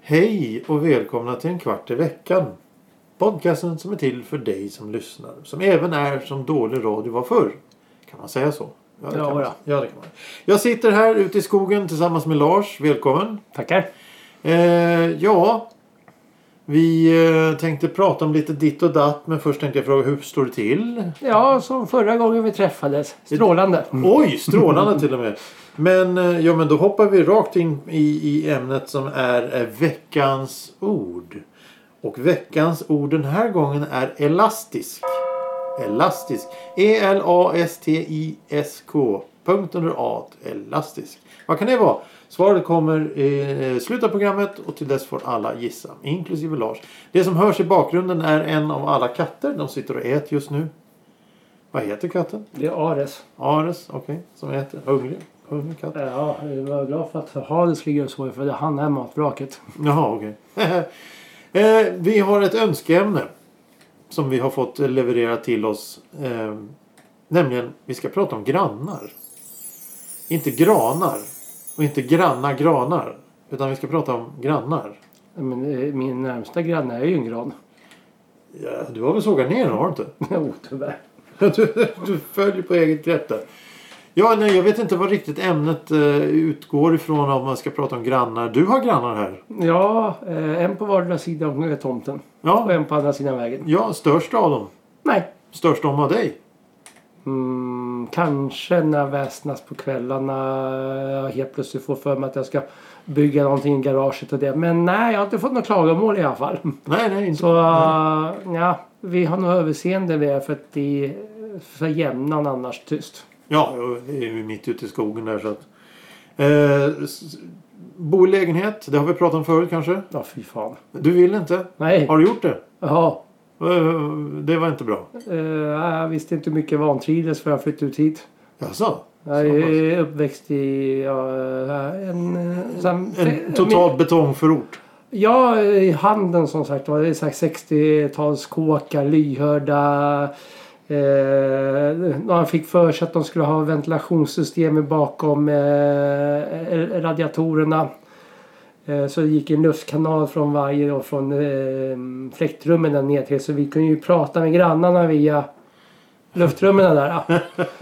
Hej och välkomna till en kvart i veckan. Podcasten som är till för dig som lyssnar. Som även är som dålig radio var förr. Kan man säga så? Ja, det kan Ja, man. ja. Ja, det kan man. Jag sitter här ute i skogen tillsammans med Lars. Välkommen. Tackar. Eh, ja, vi eh, tänkte prata om lite ditt och datt. Men först tänkte jag fråga hur står det till? Ja, som förra gången vi träffades. Strålande. Mm. Oj, strålande till och med. Men, eh, ja, men då hoppar vi rakt in i, i ämnet som är eh, veckans ord. Och veckans ord den här gången är elastisk. Elastisk. E E-L-A-S-T-I-S-K. Punkt under A. Elastisk. Vad kan det vara? Svaret kommer i slutet av programmet och till dess får alla gissa, inklusive Lars. Det som hörs i bakgrunden är en av alla katter. De sitter och äter just nu. Vad heter katten? Det är Ares. Ares, okej. Som heter hungrig. Hungrig katt. Ja, jag var glad för att Hades ligger och sover för det är han är matvraket. Jaha, okej. eh, vi har ett önskeämne. Som vi har fått levererat till oss. Eh, nämligen, vi ska prata om grannar. Inte granar. Och inte granna granar. Utan vi ska prata om grannar. Men eh, min närmsta granne är ju en gran. Ja, du har väl sågat ner den, har du inte? Jo, Oh, tyvärr. du, du följer på eget grepp där. Ja, nej, jag vet inte vad riktigt ämnet eh, utgår ifrån om man ska prata om grannar. Du har grannar här. Ja, eh, en på vardera sida om tomten. Och Ja, en på andra sidan vägen. ja störst av dem. Nej. Störst om av dig? Mm, kanske när jag väsnas på kvällarna. Jag helt plötsligt får för mig att jag ska bygga någonting i garaget och det. Men nej, jag har inte fått några klagomål i alla fall. Nej, nej, inte. Så äh, ja, vi har nog överseende med det för att det är för jämnan annars tyst. Ja, det är ju mitt ute i skogen där så att... Eh, s- s- bo i lägenhet, det har vi pratat om förut kanske. Ja, fy fan. Du vill inte? Nej. Har du gjort det? Ja, Eh, det var inte bra. eh, jag visste inte hur mycket vantrivdes för jag flyttade ut hit. Jaså? Jag Så pass. är uppväxt i eh, en... eh, sam- En total betongförort. Ja, i handen som sagt var. Det är så här 60-talskåkar, lyhörda. Eh, man fick för sig att de skulle ha ventilationssystem bakom eh, eh, radiatorerna. Eh, så det gick en luftkanal från varje och från eh, fläktrummen där ner till. Så vi kunde ju prata med grannarna via luftrummen där.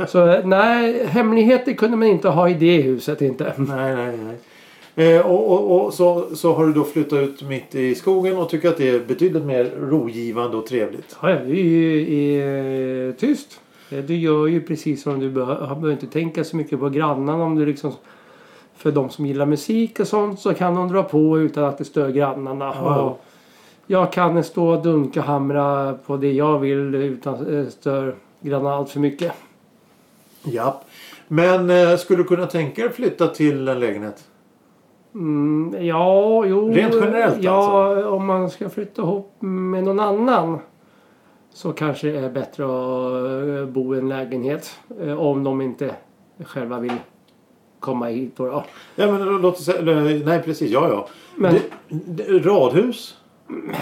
Så eh, nej, hemligheter kunde man inte ha i det huset inte. Nej, nej, nej. Eh, och och, och så, så har du då flyttat ut mitt i skogen och tycker att det är betydligt mer rogivande och trevligt. Ja, ja, det är ju är, tyst. Eh, Du gör ju precis som du behöver. Du behöver inte tänka så mycket på grannarna om du liksom... För de som gillar musik och sånt så kan de dra på utan att det stör grannarna. Ja. Och jag kan stå och dunka och hamra på det jag vill utan att stör grannarna allt för mycket. Ja. Men eh, skulle du kunna tänka dig flytta till en lägenhet? Mm, ja, jo. Rent generellt ja, alltså? om man ska flytta ihop med någon annan så kanske det är bättre att eh, bo i en lägenhet eh, om de inte själva vill komma hit. Då. då. Ja, men låt oss säga... eller, Nej, precis. Ja, ja. Men Det- det- radhus?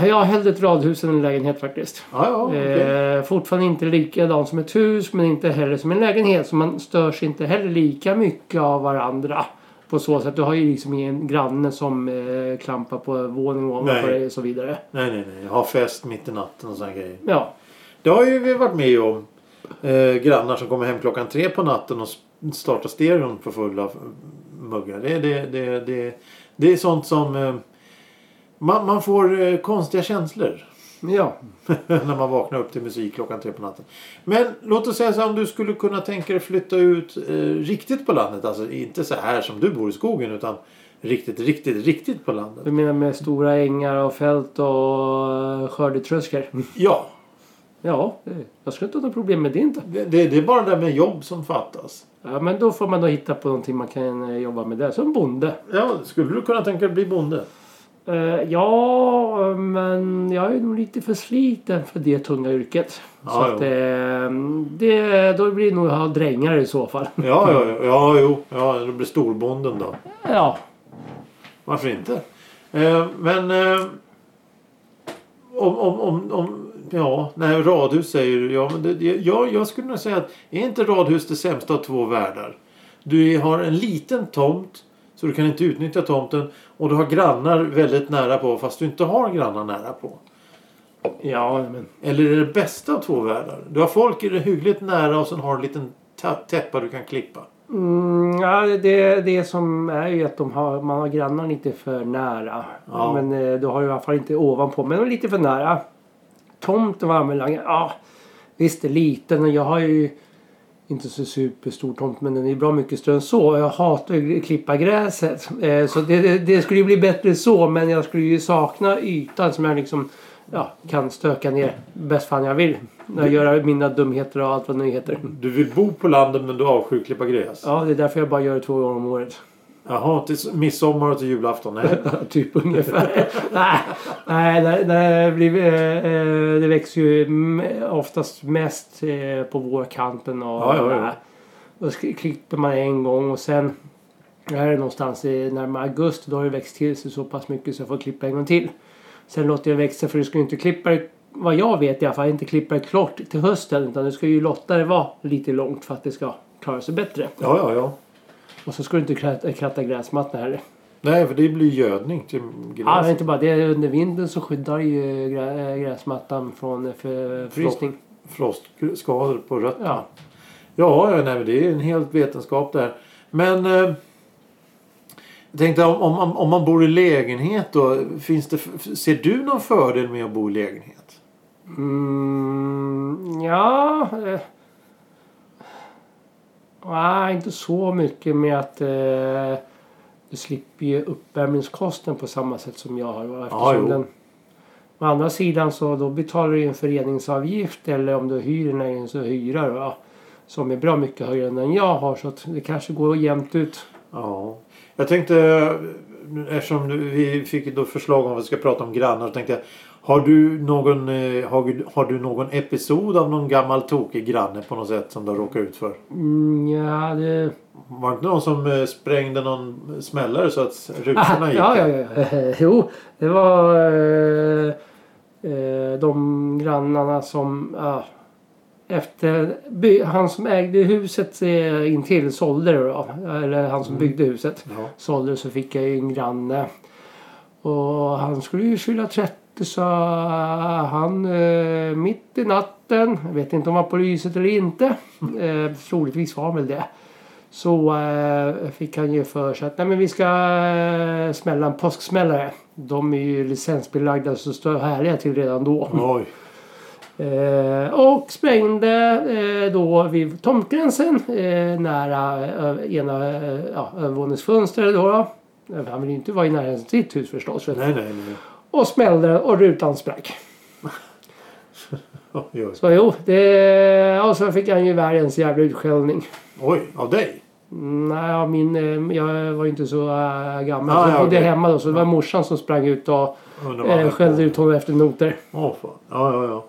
jag har hellre ett radhus än en lägenhet faktiskt. Ja, ja. okej. Eh, fortfarande inte likadant som ett hus men inte heller som en lägenhet. Så man störs inte heller lika mycket av varandra. På så sätt, du har ju liksom ingen granne som eh, klampar på våningen ovanför Nej. dig och så vidare. Nej, nej, nej. Ha fest mitt i natten och sådana grejer. Ja. Det har ju vi varit med om. Eh, grannar som kommer hem klockan tre på natten och s- startar stereon för fulla f- muggar. Det, det, det, det, det är sånt som... Eh, man, man får eh, konstiga känslor Ja, när man vaknar upp till musik klockan tre på natten. Men låt oss säga så här, om du skulle kunna tänka dig flytta ut eh, riktigt på landet. Alltså inte så här som du bor i skogen utan riktigt, riktigt, riktigt på landet. du menar med stora ängar och fält och eh, skördetröskor? Ja, Ja, det- jag skulle inte ha något problem med det inte. Det, det, det är bara det där med jobb som fattas. Ja, men då får man då hitta på någonting man kan eh, jobba med där, som bonde. Ja, skulle du kunna tänka dig bli bonde? Eh, ja, men jag är nog lite för sliten för det tunga yrket. så Ja, att, eh, det, då blir det nog att ha drängar i så fall. Ja, ja, ja, ja, jo. Ja, det blir storbonden då. ja. Varför inte? Eh, men... Eh, om, om, om, om... Ja, nej, radhus säger du. Ja, men det, det- jag, jag skulle nog säga att är inte radhus det sämsta av två världar? Du har en liten tomt så du kan inte utnyttja tomten och du har grannar väldigt nära på fast du inte har grannar nära på. Ja, men. Eller är det bästa av två världar? Du har folk i det hyggligt nära och sen har du en liten tä- täppa du kan klippa. Mm, ja, det, det som är ju att de har, man har grannarna lite för nära. Ja. Men eh, du har ju i alla fall inte ovanpå, men de är lite för nära. Tomten var använd länge. Ja, visst det är liten och jag har ju inte så superstor tomt men den är bra mycket större än så. Och Jag hatar ju att klippa gräset. Eh, så det, det, det skulle ju bli bättre så men jag skulle ju sakna ytan som jag liksom ja, kan stöka ner bäst fan jag vill. När jag gör mina dumheter och allt vad det nu heter. Du vill bo på landet men du avskyr att klippa gräs. Ja, det är därför jag bara gör det två gånger om året. Jaha, till s- midsommar och till julafton. Nej. typ ungefär. nej, nej, nej, nej det, blir, eh, eh, det växer ju mm, oftast mest eh, på vårkanten. Och, Ja, ja, ja. nej. Då sk- klipper man en gång och sen det här är någonstans i närmare augusti. Då har det växt till sig så pass mycket så jag får klippa en gång till. Sen låter jag växa för du ska ju inte klippa det, vad jag vet i alla fall, inte klippa det klart till hösten. Utan du ska ju låta det vara lite långt för att det ska klara sig bättre. Ja, ja, ja. Och så ska du inte kratta, kratta gräsmattan heller. Nej, för det blir gödning till Ja, men gräset. inte bara Ah, det. Under vintern så skyddar ju grä, äh, gräsmattan från eh, för, frysning. Frostskador på rötterna. Ja. Ja, ja nej, men det är en hel vetenskap där. Men eh, jag tänkte om, om, man- om man bor i lägenhet då. Finns det, f- ser du någon fördel med att bo i lägenhet? Mm, ja. eh. Nej, inte så mycket med att eh, du slipper ju uppvärmningskosten på samma sätt som jag har. va, Ja, Eftersom jo. den, å andra sidan så då betalar du ju en föreningsavgift eller om du hyr en lägenhet så hyra va? Som är bra mycket högre än den jag har så att det kanske går jämnt ut. Ja. Jag tänkte, eh, eftersom du- vi fick då förslag om att vi ska prata om grannar, så tänkte jag. Har du någon, eh, har, du- har du någon episod av någon gammal tokig granne på något sätt som du har råkat ut för? Mm, ja, det... Var det inte någon som eh, sprängde någon smällare så att rutorna Ah, gick? ja, ja, ja. Jo, det var eh, eh, de grannarna som... ja, efter by, Han som ägde huset eh, intill sålde det då. Eller han som byggde huset Ja. sålde det, så fick jag ju en granne. Och han skulle ju fylla 30 så han eh, mitt i natten, jag vet inte om han var på lyset eller inte, eh, troligtvis var han väl det. Så eh, fick han ju för sig att nej men vi ska eh, smälla en påsksmällare. De är ju licensbelagda så står härliga till redan då. Oj. Eh, och sprängde eh, då vid tomtgränsen eh, nära eh, ena eh, ja, övervåningsfönstret. Då, då. Han vill ju inte vara i närheten av sitt hus förstås. vet du. Nej, nej, nej. Och smällde och rutan sprack. Oj, oj. Så jo, det, och så fick han ju världens jävla utskällning. oj av dig? Mm, Nej, ja, min, eh, jag var ju inte så äh, gammal. Ah, så jag ja, bodde okej. hemma då. Så det var morsan som sprang ut och Undrar vad äh, han- skällde ut honom efter noter. Åh, fan. Ja, ja, ja.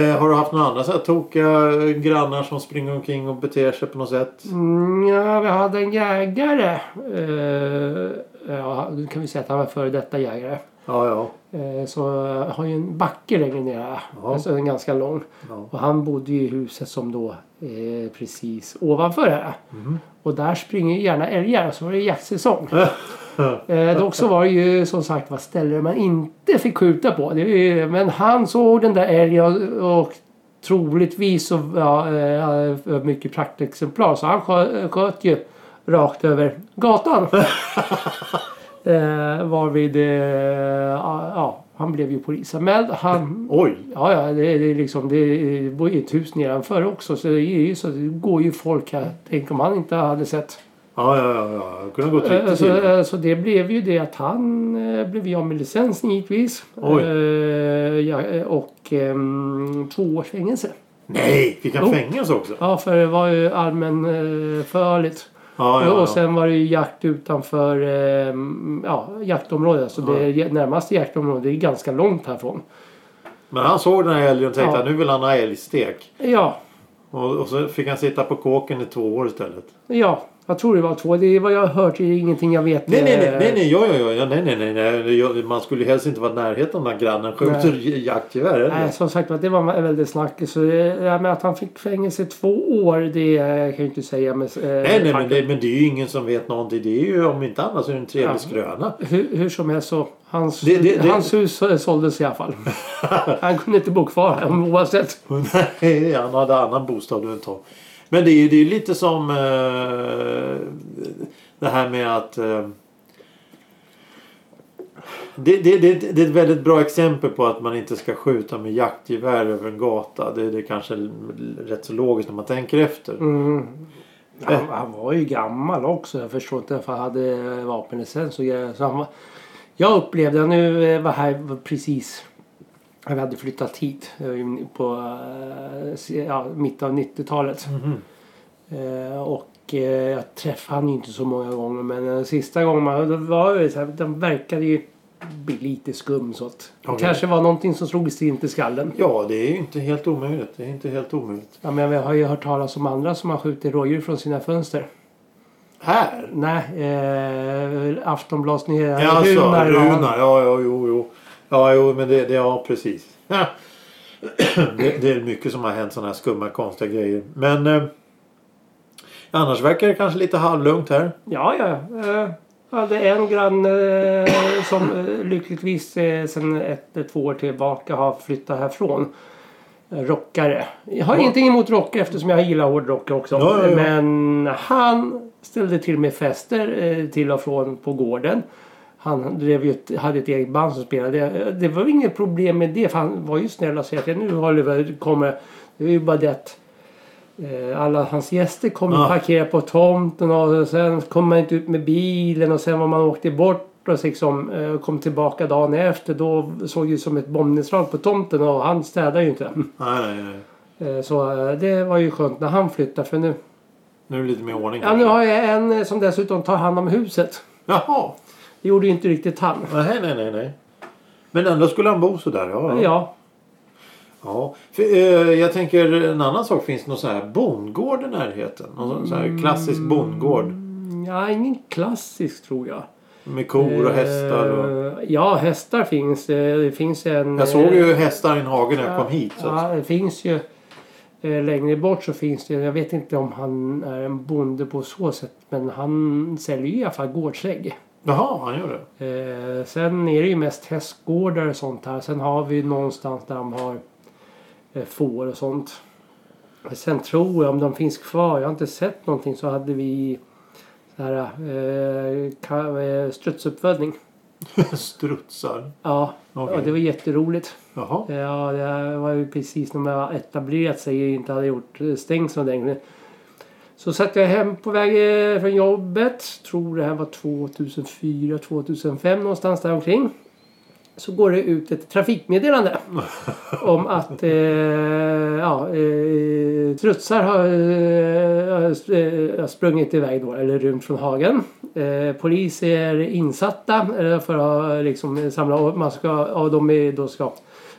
Eh, har du haft några andra så här tokiga grannar som springer omkring och beter sig på något sätt? Mm, ja, vi hade en jägare. Eh, ja, nu kan vi säga att han var före detta jägare. Ja, ja. Eh, så jag har ju en backe längre ner här. Ja. Alltså en ganska lång. ja. Och han bodde ju i huset som då eh, precis ovanför här. Och där springer ju gärna älgar och så var det jaktsäsong. eh, dock så var det ju som sagt var ställen man inte fick skjuta på. Det är ju, men han såg den där älgen och, och troligtvis så ja, eh, mycket praktexemplar så han skö- sköt ju rakt över gatan. eh, varvid eh, ja, ja, han blev ju polisanmäld. Han Oj. Ja, ja det, det, är liksom, det bor ju ett hus nedanför också så det, är ju, så det går ju folk här. Tänk om han inte hade sett. Ja, ja, ja. ja. Det kunde ha gått Eh, riktigt Så, till. eh, så det blev ju det att han eh, blev ju av med licensen givetvis. Oj. Eh, ja, eh, och ehm, två års fängelse. Nej! Fick han Jo. fängelse också? Ja, för det var ju allmän eh, förligt. Ja, ja, ja. Och sen var det ju jakt utanför eh, ja, jaktområdet. Så det är- närmaste jaktområdet är ganska långt härifrån. Men han såg den här älgen och tänkte Ja. att nu vill han ha älgstek. Ja, Och, och så fick han sitta på kåken i två år istället. ja. Jag tror det var två. Det är vad jag har hört. Det är ingenting jag vet. Nej, nej, eh, nej, nej, nej, ja, ja, ja, ja, nej, nej, nej, nej, Ja, man skulle ju helst inte vara i närheten när grannen skjuter jaktgevär. eller? Nej, som sagt var, det var en väldig snack. Så det, det här med att han fick fängelse i två år, det eh, kan jag ju inte säga. Med, eh, Nej, nej, men tack. det, men det är ju ingen som vet någonting. Det är ju om inte annat så är det en trevlig Ja. skröna. hur, hur som helst så, hans, Det- det- det- hans hus eh, såldes i alla fall. han kunde inte bo kvar här, oavsett. nej, han hade annan bostad än Tom. Men det är ju det är ju lite som eh, det här med att eh, det, det, det, det är ett väldigt bra exempel på att man inte ska skjuta med jaktgevär över en gata. Det, det är kanske rätt så logiskt när man tänker efter. Mm. Han, han var ju gammal också. Jag förstår inte varför han hade eh, vapenlicens. och grejer. Så han var, jag upplevde, han nu eh, var här var precis när vi hade flyttat hit eh, in- på eh, se- ja, mitten av 90-talet. Eh, och eh, jag träffade han ju inte så många gånger men den sista gången man, då var det så här, den verkade ju bli lite skum så att det Okej. kanske var någonting som slog sig in till skallen. Ja, det är ju inte helt omöjligt. Det är inte helt omöjligt. Ja, men jag har ju hört talas om andra som har skjutit rådjur från sina fönster. Här? Nej, eh, Aftonbladet Ja, alltså, Runar, Runar. va? Ja, ja, jo, jo. Ja, jo, men det, det ja, precis. Ja. Det, det är mycket som har hänt sådana här skumma, konstiga grejer. Men eh, annars verkar det kanske lite halvlugnt här. Ja, ja. Eh, jag hade en granne eh, som eh, lyckligtvis eh, sen ett, eh, två år tillbaka har flyttat härifrån. Eh, Rockare. Jag har ingenting emot rockare eftersom jag gillar hårdrock också. Ja, ja, ja. Men han ställde till med fester eh, till och från på gården. Han drev ju ett, hade ett eget band som spelade. Eh, Det var ju inget problem med det för han var ju snäll och sa att nu Oliver kommer. Det är ju bara det att Eh, Alla hans gäster kom Ja. och parkerade på tomten och sen kom man inte ut med bilen och sen var man åkte bort och liksom, eh, kom tillbaka dagen efter då såg det ut som ett bombnedslag på tomten och han städade ju inte. Nej, nej, nej. Eh, Så eh, det var ju skönt när han flyttade för nu. Nu är det lite mer ordning. Ja, nu kanske. har jag en eh, som dessutom tar hand om huset. Jaha. Det gjorde ju inte riktigt han. Nej, nej, nej, nej. Men ändå skulle han bo sådär. Ja, ja. Ja, ja. För, eh, jag tänker en annan sak. Finns det någon sån här bondgård i närheten? Någon sån- sån här klassisk bondgård. ja ingen klassisk tror jag. Med kor och hästar och... Eh, Ja, hästar finns. det. Det finns en... Jag såg ju hästar i en hage när jag Ja, kom hit. Så att, ja, det finns ju eh, längre bort så finns det, jag vet inte om han är en bonde på så sätt, men han säljer ju i alla fall gårdsägg. jaha, han gör det. Eh, sen är det ju mest hästgårdar och sånt här. Sen har vi någonstans där de har eh, får och sånt. Sen tror jag, om de finns kvar, jag har inte sett någonting, så hade vi så här, eh, ka- eh, strutsuppfödning. Strutsar. Ja, Okej. och det var jätteroligt. Jaha. Ja, det var ju precis när man etablerat sig och inte hade gjort eh, stängsel ordentligt. Så satt jag hem på väg eh, från jobbet, tror det här var 2004, 2005 någonstans där omkring. Så går det ut ett trafikmeddelande om att eh, ja, eh, strutsar har eh, sp- eh, sprungit iväg då, eller rymt från hagen. Eh, polis är insatta eh, för att liksom, samla och man ska, ja, de är, då ska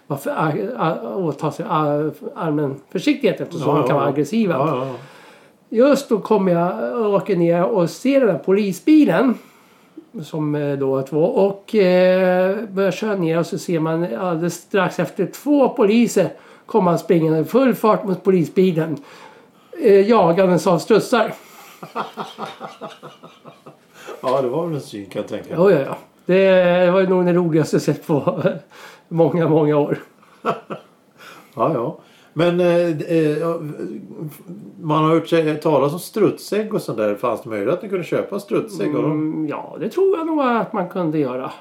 vara för, a, a, åta sig a, allmän försiktighet eftersom Ja, de ja, kan vara ja. aggressiva. Ja, ja, ja. Just då kommer jag och åker ner och ser den här polisbilen. Som eh, då var två. Och eh, börjar köra ner och så ser man alldeles strax efter två poliser komma han springande i full fart mot polisbilen. Eh, jagandes av strutsar. ja, det var väl en syn kan jag tänka mig. Ja, ja, ja. Det var ju nog det roligaste jag sett på många, många år. Ja, ja. Men eh, eh, ja, man har hört sig talas om strutsägg och sånt där. Fanns det möjlighet att ni kunde köpa strutsägg? av dem? Mm, ja, det tror jag nog att man kunde göra.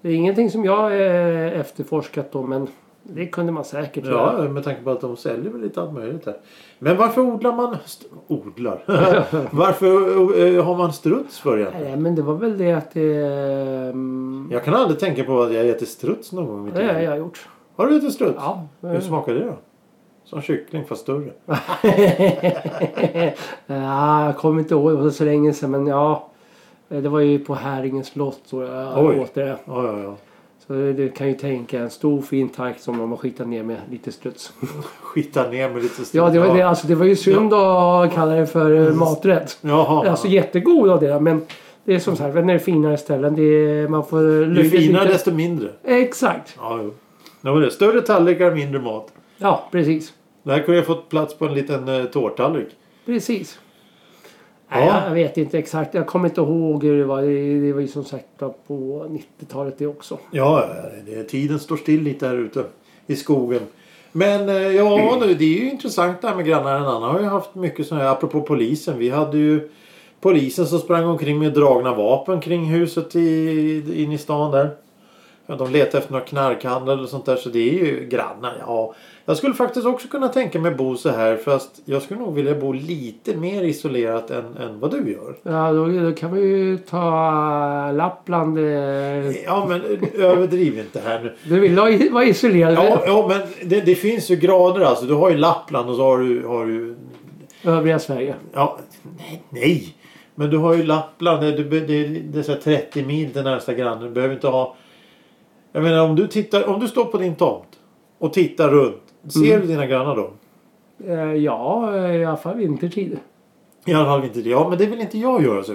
Det är ingenting som jag eh, efterforskat då men det kunde man säkert göra. Ja, med tanke på att de säljer väl lite allt möjligt där. Men varför odlar man... St- odlar? varför eh, har man struts för egentligen? Nej, men det var väl det att det... ehm, Jag kan aldrig tänka på att jag ätit struts någon gång i mitt Det har liv. jag gjort. Har du ätit struts? Ja. Hur smakar det då? Som kyckling fast större. ja, Eh, ah, jag kommer inte ihåg, det var så länge sedan men ja. Eh, Det var ju på Häringens slott och jag Oj. åt det. Ja, ja, ja. Så du kan ju tänka en stor fin tank som de har skitat ner med lite struts. Skita ner med lite stil. Ja, det var, Det, alltså, det var ju synd att kalla det för eh, maträtt. Jaha. Alltså jättegod av det men det är som sagt, när det är finare ställen, det är, man får... ju finare lite- desto mindre. Exakt! Ja, jo. Det var det. Större tallrikar, mindre mat. Ja, precis. Det här kunde jag fått plats på en liten eh, tårtallrik. Precis. Ja. Nej, jag vet inte exakt. Jag kommer inte ihåg hur det var. Det det var ju som sagt på 90-talet det också. Ja, det, tiden står still lite här ute i skogen. Men eh, ja, nu, det är ju intressant det här med grannar. En annan har ju haft mycket sådana här, apropå polisen. Vi hade ju polisen som sprang omkring med dragna vapen kring huset i, in i stan där. Ja, de letade efter några knarkhandel och sånt där så det är ju grannar. Ja. Jag skulle faktiskt också kunna tänka mig att bo så här fast jag skulle nog vilja bo lite mer isolerat än, än vad du gör. Ja, då, då kan vi ju ta Lappland. eh. Ja men eh, överdriv inte här nu. Du vill ha i- vara isolerad? Ja, ja men det, det finns ju grader alltså. Du har ju Lappland och så har du... Har du Övriga Sverige. ja, nej, nej! Men du har ju Lappland. Det, det, det, det är så här 30 mil till närmsta granne. Du behöver inte ha... Jag menar om du, tittar, om du står på din tomt och tittar runt. Ser Mm. du dina grannar då? Eh, Ja, eh, i alla fall vintertid. I alla fall inte det. Ja, men det vill inte jag göra. Så.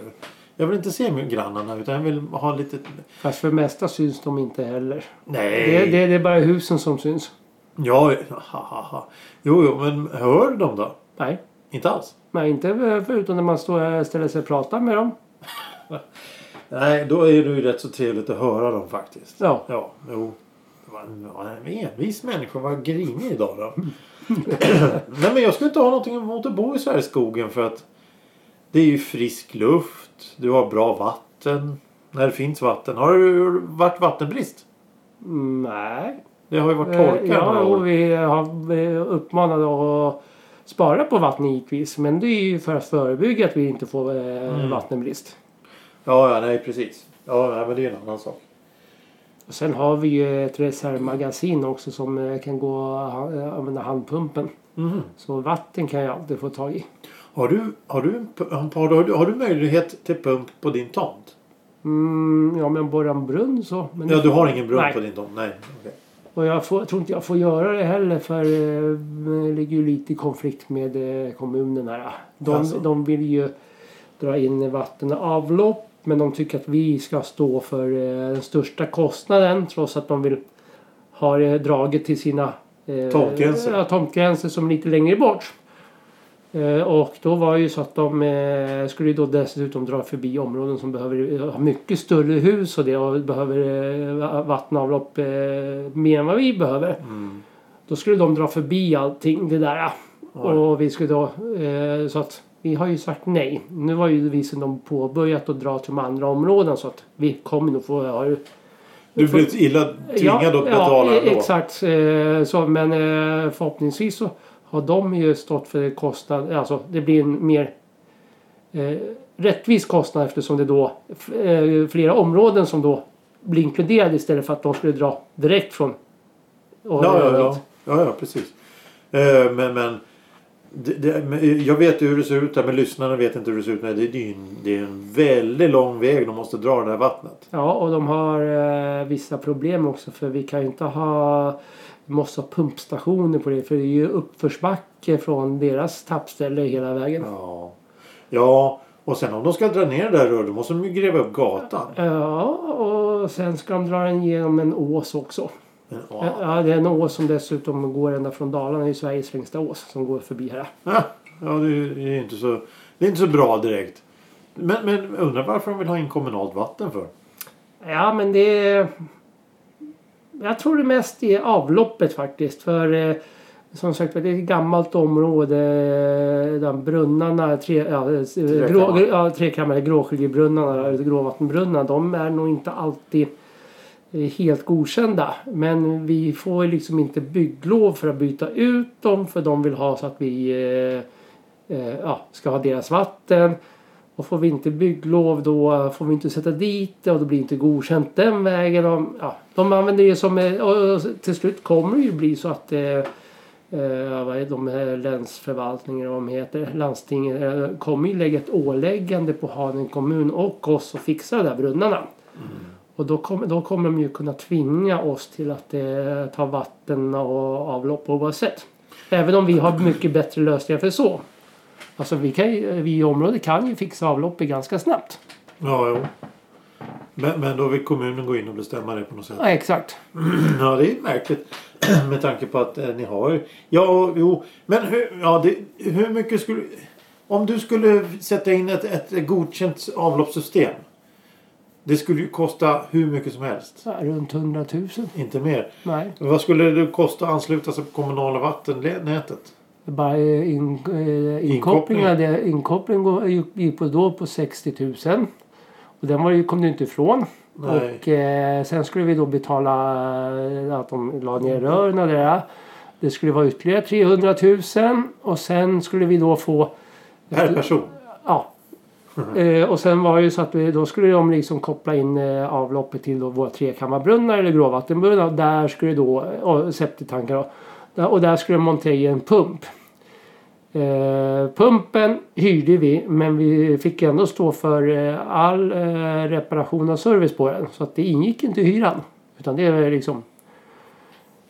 Jag vill inte se min- grannarna utan jag vill ha lite... Fast för det mesta syns de inte heller. Nej! Det, det, det är bara husen som syns. Ja, ha, ha, ha. Jo, jo, men hör du dem då? Nej, Inte alls. Nej inte förutom när man står, ställer sig och pratar med dem. Nej, då är det ju rätt så trevligt att höra dem faktiskt. Ja. Ja, jo. Det var en- var en envis människa. Vad grinig idag då. Nej men jag skulle inte ha någonting emot att bo i så här i skogen för att det är ju frisk luft. Du har bra vatten. När det finns vatten. Har det varit vattenbrist? Mm, Nej. Det har ju varit Eh, torka Ja, några och år. vi har eh, uppmanade att spara på vatten givetvis. Men det är ju för att förebygga att vi inte får eh, Mm. vattenbrist. Ja, ja, nej precis. Ja, nej, men det är en annan sak. Och sen har vi ju ett reservmagasin också som eh, kan gå och eh, använda handpumpen. Mhm. Så vatten kan jag alltid få tag i. Har du, har, du en, pu- har, du, har du- har du möjlighet till pump på din tomt? Mm, ja, men borra en brunn så. Men Ja, du har ingen brunn Nej. på din tomt? Nej. okej. Och jag, får, jag tror inte jag får göra det heller för eh, det ligger ju lite i konflikt med eh, kommunen här. De, Alltså. de vill ju dra in vatten och avlopp men de tycker att vi ska stå för eh, den största kostnaden trots att de vill ha det draget till sina eh, Tomtgränser. Ja, tomtgränser som är lite längre bort. Eh, och då var det ju så att de eh, skulle ju då dessutom dra förbi områden som behöver eh, ha mycket större hus och det och behöver eh, va- vattenavlopp eh, mer än vad vi behöver. Då skulle de dra förbi allting det där. eh. Oj. Och vi skulle då, eh, så att vi har ju sagt nej. Nu har ju vi sedan de påbörjat att dra till de andra områden så att vi kommer nog få ha Du blev illa tvingad att betala ja, e- ändå? Exakt. eh, Så, men eh, förhoppningsvis så har de ju stått för kostnad. Alltså det blir en mer eh, rättvis kostnad eftersom det då f- eh, flera områden som då blir inkluderade istället för att de skulle dra direkt från. och- Ja, ja, ja. ja, ja precis. Eh, men men, det, det, men jag vet ju hur det ser ut där, men lyssnarna vet inte hur det ser ut. Nej, det, det, är ju en, det är en väldigt lång väg de måste dra det här vattnet. Ja, och de har eh, vissa problem också för vi kan ju inte ha vi måste ha pumpstationer på det för det är ju uppförsbacke från deras tappställe hela vägen. Ja. ja, och sen om de ska dra ner det där röret, då måste de ju gräva upp gatan. Eh, Ja, och sen ska de dra den genom en ås också. Men, Ja. ja. det är en ås som dessutom går ända från Dalarna. Det är Sveriges längsta ås som går förbi här. Ja, det är ju det är ju inte, så, det är inte så bra direkt. Men, men undrar varför de vill ha in kommunalt vatten för? Ja, men det är... Jag tror det mest är avloppet faktiskt. För eh, som sagt det är ett gammalt område. eh, Där brunnarna, tre, ja, eh, grå, Trekammare. ja, trekammare, gråskiljebrunnarna, eller gråvattenbrunnarna. De är nog inte alltid eh, helt godkända. Men vi får ju liksom inte bygglov för att byta ut dem. För de vill ha så att vi eh, eh, ja, ska ha deras vatten. Och får vi inte bygglov då får vi inte sätta dit det och då blir det inte godkänt den vägen. Och, ja, de använder det som... eh, Och och till slut kommer det ju bli så att eh, eh, vad är de här länsförvaltningarna vad de heter, landstinget, eh, kommer ju lägga ett åläggande på Haninge kommun och oss att fixa de där brunnarna. Och då kommer, då kommer de ju kunna tvinga oss till att eh, ta vatten och avlopp oavsett. Även om vi har mycket bättre lösningar för så. Alltså vi, kan ju, vi i området kan ju fixa avloppet ganska snabbt. Ja, jo. Men, men då vill kommunen gå in och bestämma det på något sätt. Ja, exakt. Ja, det är märkligt. Med tanke på att eh, ni har ju... Ja, jo. Men hur, ja, det, hur mycket skulle... Om du skulle sätta in ett, ett godkänt avloppssystem. Det skulle ju kosta hur mycket som helst. Så här, runt 100 000. Inte mer. Nej, Vad skulle det kosta att ansluta sig på kommunala vattennätet? det är bara eh, in, eh, Inkoppling. inkopplingen. det- Inkopplingen går- gick- gick på då på 60 000. Och den var ju, kom du inte ifrån. Nej. Och eh, sen skulle vi då betala eh, att de la ner rören och det där. Det skulle vara ytterligare 300 000 och sen skulle vi då få Per person? Ja. Eh, och sen var det ju så att vi, då skulle de liksom koppla in eh, avloppet till då våra trekammarbrunnar eller gråvattenbrunnar. Och Där skulle då, eh, och septitankar då. Där- Och där skulle de montera i en pump. Eh, pumpen hyrde vi men vi fick ändå stå för eh, all eh, reparation och service på den. Så att det ingick inte i hyran. Utan det är liksom...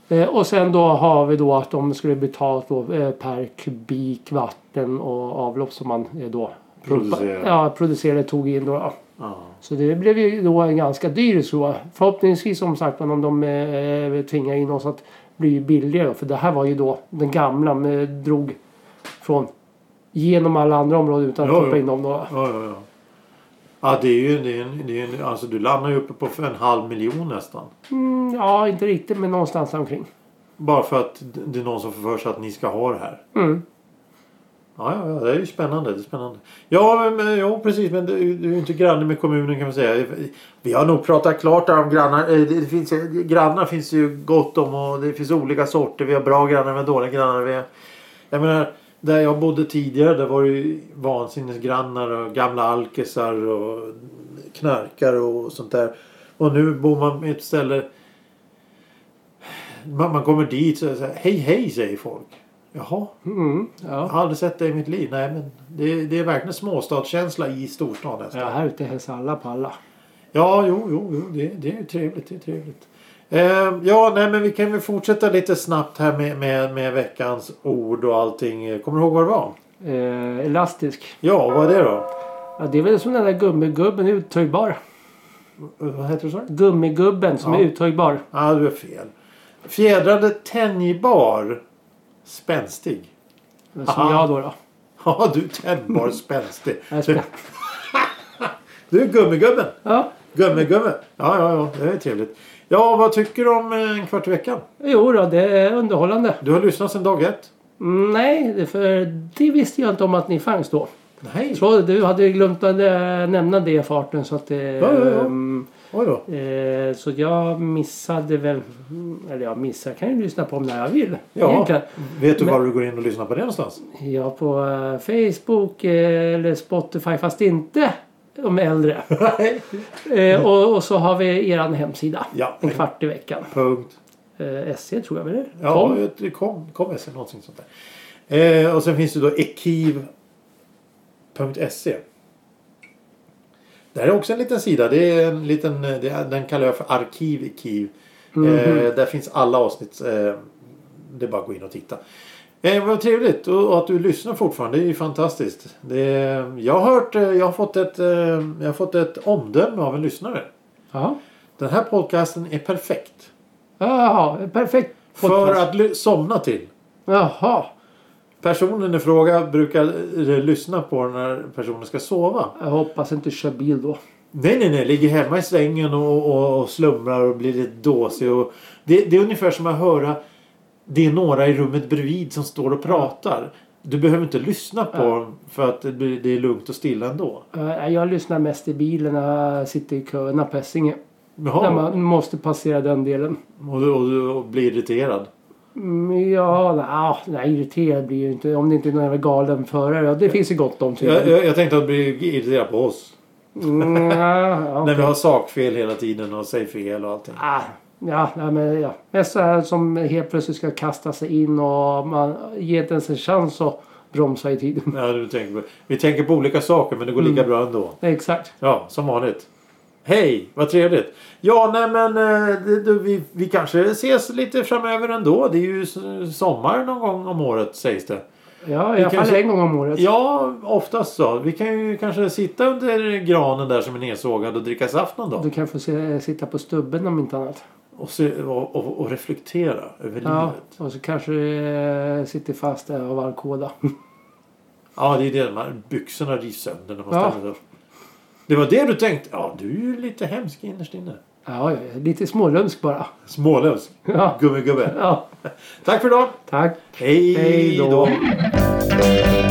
Eh, och sen då har vi då att de skulle betala då, eh, per kubik vatten och avlopp som man eh, då Producerar. Ja, producerade tog in då. ja. Ja. Så det blev ju då en ganska dyr så. Förhoppningsvis som sagt men om de eh, tvingar in oss att bli billigare. då. För det här var ju då den gamla med, drog från genom alla andra områden utan att Ja, stoppa ja. in dem då. Ja, ja, ja. Ja, det är ju det är en, det är en, alltså du landar ju uppe på för en halv miljon nästan. Mm, ja, inte riktigt men någonstans omkring. Bara för att det är någon som får för sig att ni ska ha det här. Mm. Ja, ja, ja, det är ju spännande. Det är spännande. Ja, men- men, ja, precis. Men du, du är ju inte granne med kommunen kan man säga. Vi har nog pratat klart där om grannar. Eh, Det finns, ju- grannar finns ju gott om och det finns olika sorter. Vi har bra grannar med dåliga grannar. Vi har, jag menar, där jag bodde tidigare där var det ju vansinnesgrannar och gamla alkisar och knarkar och sånt där. Och nu bor man på ett ställe man, man kommer dit så är det så här, hej hej säger folk. Jaha, Mm, jag ja. har aldrig sett det i mitt liv. Nej men det, det är verkligen småstadskänsla i storstad nästan. ja, här ute hälsar alla på alla. Ja, jo, jo, jo det, det är ju trevligt. Det är trevligt. Eh, ja, nej men vi kan väl fortsätta lite snabbt här med, med, med veckans ord och allting. Kommer du ihåg vad det var? Eh, elastisk. Ja, vad är det då? Ja, det är väl som den där gummigubben uttöjbar. Eh, Vad heter det så? Gummigubben som Ja. är uttöjbar. Ja, du är fel. Fjädrade, tänjbar, spänstig. Som Aha. jag då. då. Ja, du är tändbar, spänstig. Mm. Jag är spä- Du är gummigubben. Ja, Gummigubbe. Ja, ja, ja. Det är trevligt. Ja, vad tycker du om eh, en kvart i veckan? jo då, det är underhållande. Du har lyssnat sedan dag ett? Mm, Nej, det- för det visste jag inte om att ni fanns då. Nej. Så du hade ju glömt att eh, nämna det i farten så att eh, ja, ja. mm, Oj då. eh, Så jag missade väl, mm, eller jag missar, jag kan ju lyssna på om när jag vill. Ja. egentligen. Vet du var du går in och lyssnar på det någonstans? Ja, på eh, Facebook eh, eller Spotify fast inte om äldre. Nej. Eh, och, och så har vi eran hemsida. Ja. En kvart i veckan. Punkt. Eh, SC tror jag väl det är? Ja, Kom. kom. kom, kom SE, någonting sånt där. Eh, och sen finns det då ekiv.se. E. Där är också en liten sida. Det är en liten, eh, det är, den kallar jag för Arkiv i Kiv. Eh, där finns alla avsnitt. Eh, det är bara att gå in och titta. Eh, vad trevligt och, och att du lyssnar fortfarande. Det är ju fantastiskt. Det är, jag har hört, eh, jag har, fått ett, eh, jag har fått ett omdöme av en lyssnare. Jaha. Den här podcasten är perfekt. Jaha, perfekt. För att ly- somna till. Jaha. Personen i fråga brukar eh, lyssna på när personen ska sova. Jag hoppas jag inte kör bil då. Nej, nej, nej. Ligger hemma i sängen och, och, och slumrar och blir lite dåsig. Och det, det är ungefär som att höra det är några i rummet bredvid som står och pratar. Du behöver inte lyssna på dem för att det, blir, det är lugnt och stilla ändå. Eh, Jag lyssnar mest i bilen när jag sitter i köerna på Essinge. När Jaha. man måste passera den delen. Och, du, och du och blir irriterad. Mm, ja, na, nej, irriterad blir jag ju inte. Om det inte är någon jävla galen förare. Ja, Det finns ju gott om Jag, tydligen. jag, jag tänkte att du blir irriterad på oss. Mm, ja, ja, När vi okej. har sakfel hela tiden och säger fel och allting. Ah, Ja, nej, men, ja. Mest så här som helt plötsligt ska kasta sig in och man ger inte ens en chans att bromsa i tid. Ja, du tänker på. Vi tänker på olika saker men det går lika bra ändå. Exakt. Ja, som vanligt. Hej, vad trevligt. Ja, nej men eh, det, det, vi, vi kanske ses lite framöver ändå. Det är ju s- sommar någon gång om året sägs det. Ja, Vi i alla fall kanske- en gång om året. Ja, oftast så. Vi kan ju kanske sitta under granen där som är nedsågad och dricka saft någon dag. Du kan få se, sitta på stubben om inte annat. Och, se, och, och, och reflektera över Ja, livet. och så kanske eh, sitter fast där av alkohola. Ja, det är det. Man, byxorna rivs sönder när man Ja. ställer sig upp. Det var det du tänkte? Ja, du är ju lite hemsk innerst inne. Ja, ja, ja, lite smålömsk bara. Smålös. Ja. Gummigubbe. Ja, Tack för idag. tack. Hej Hej då. då.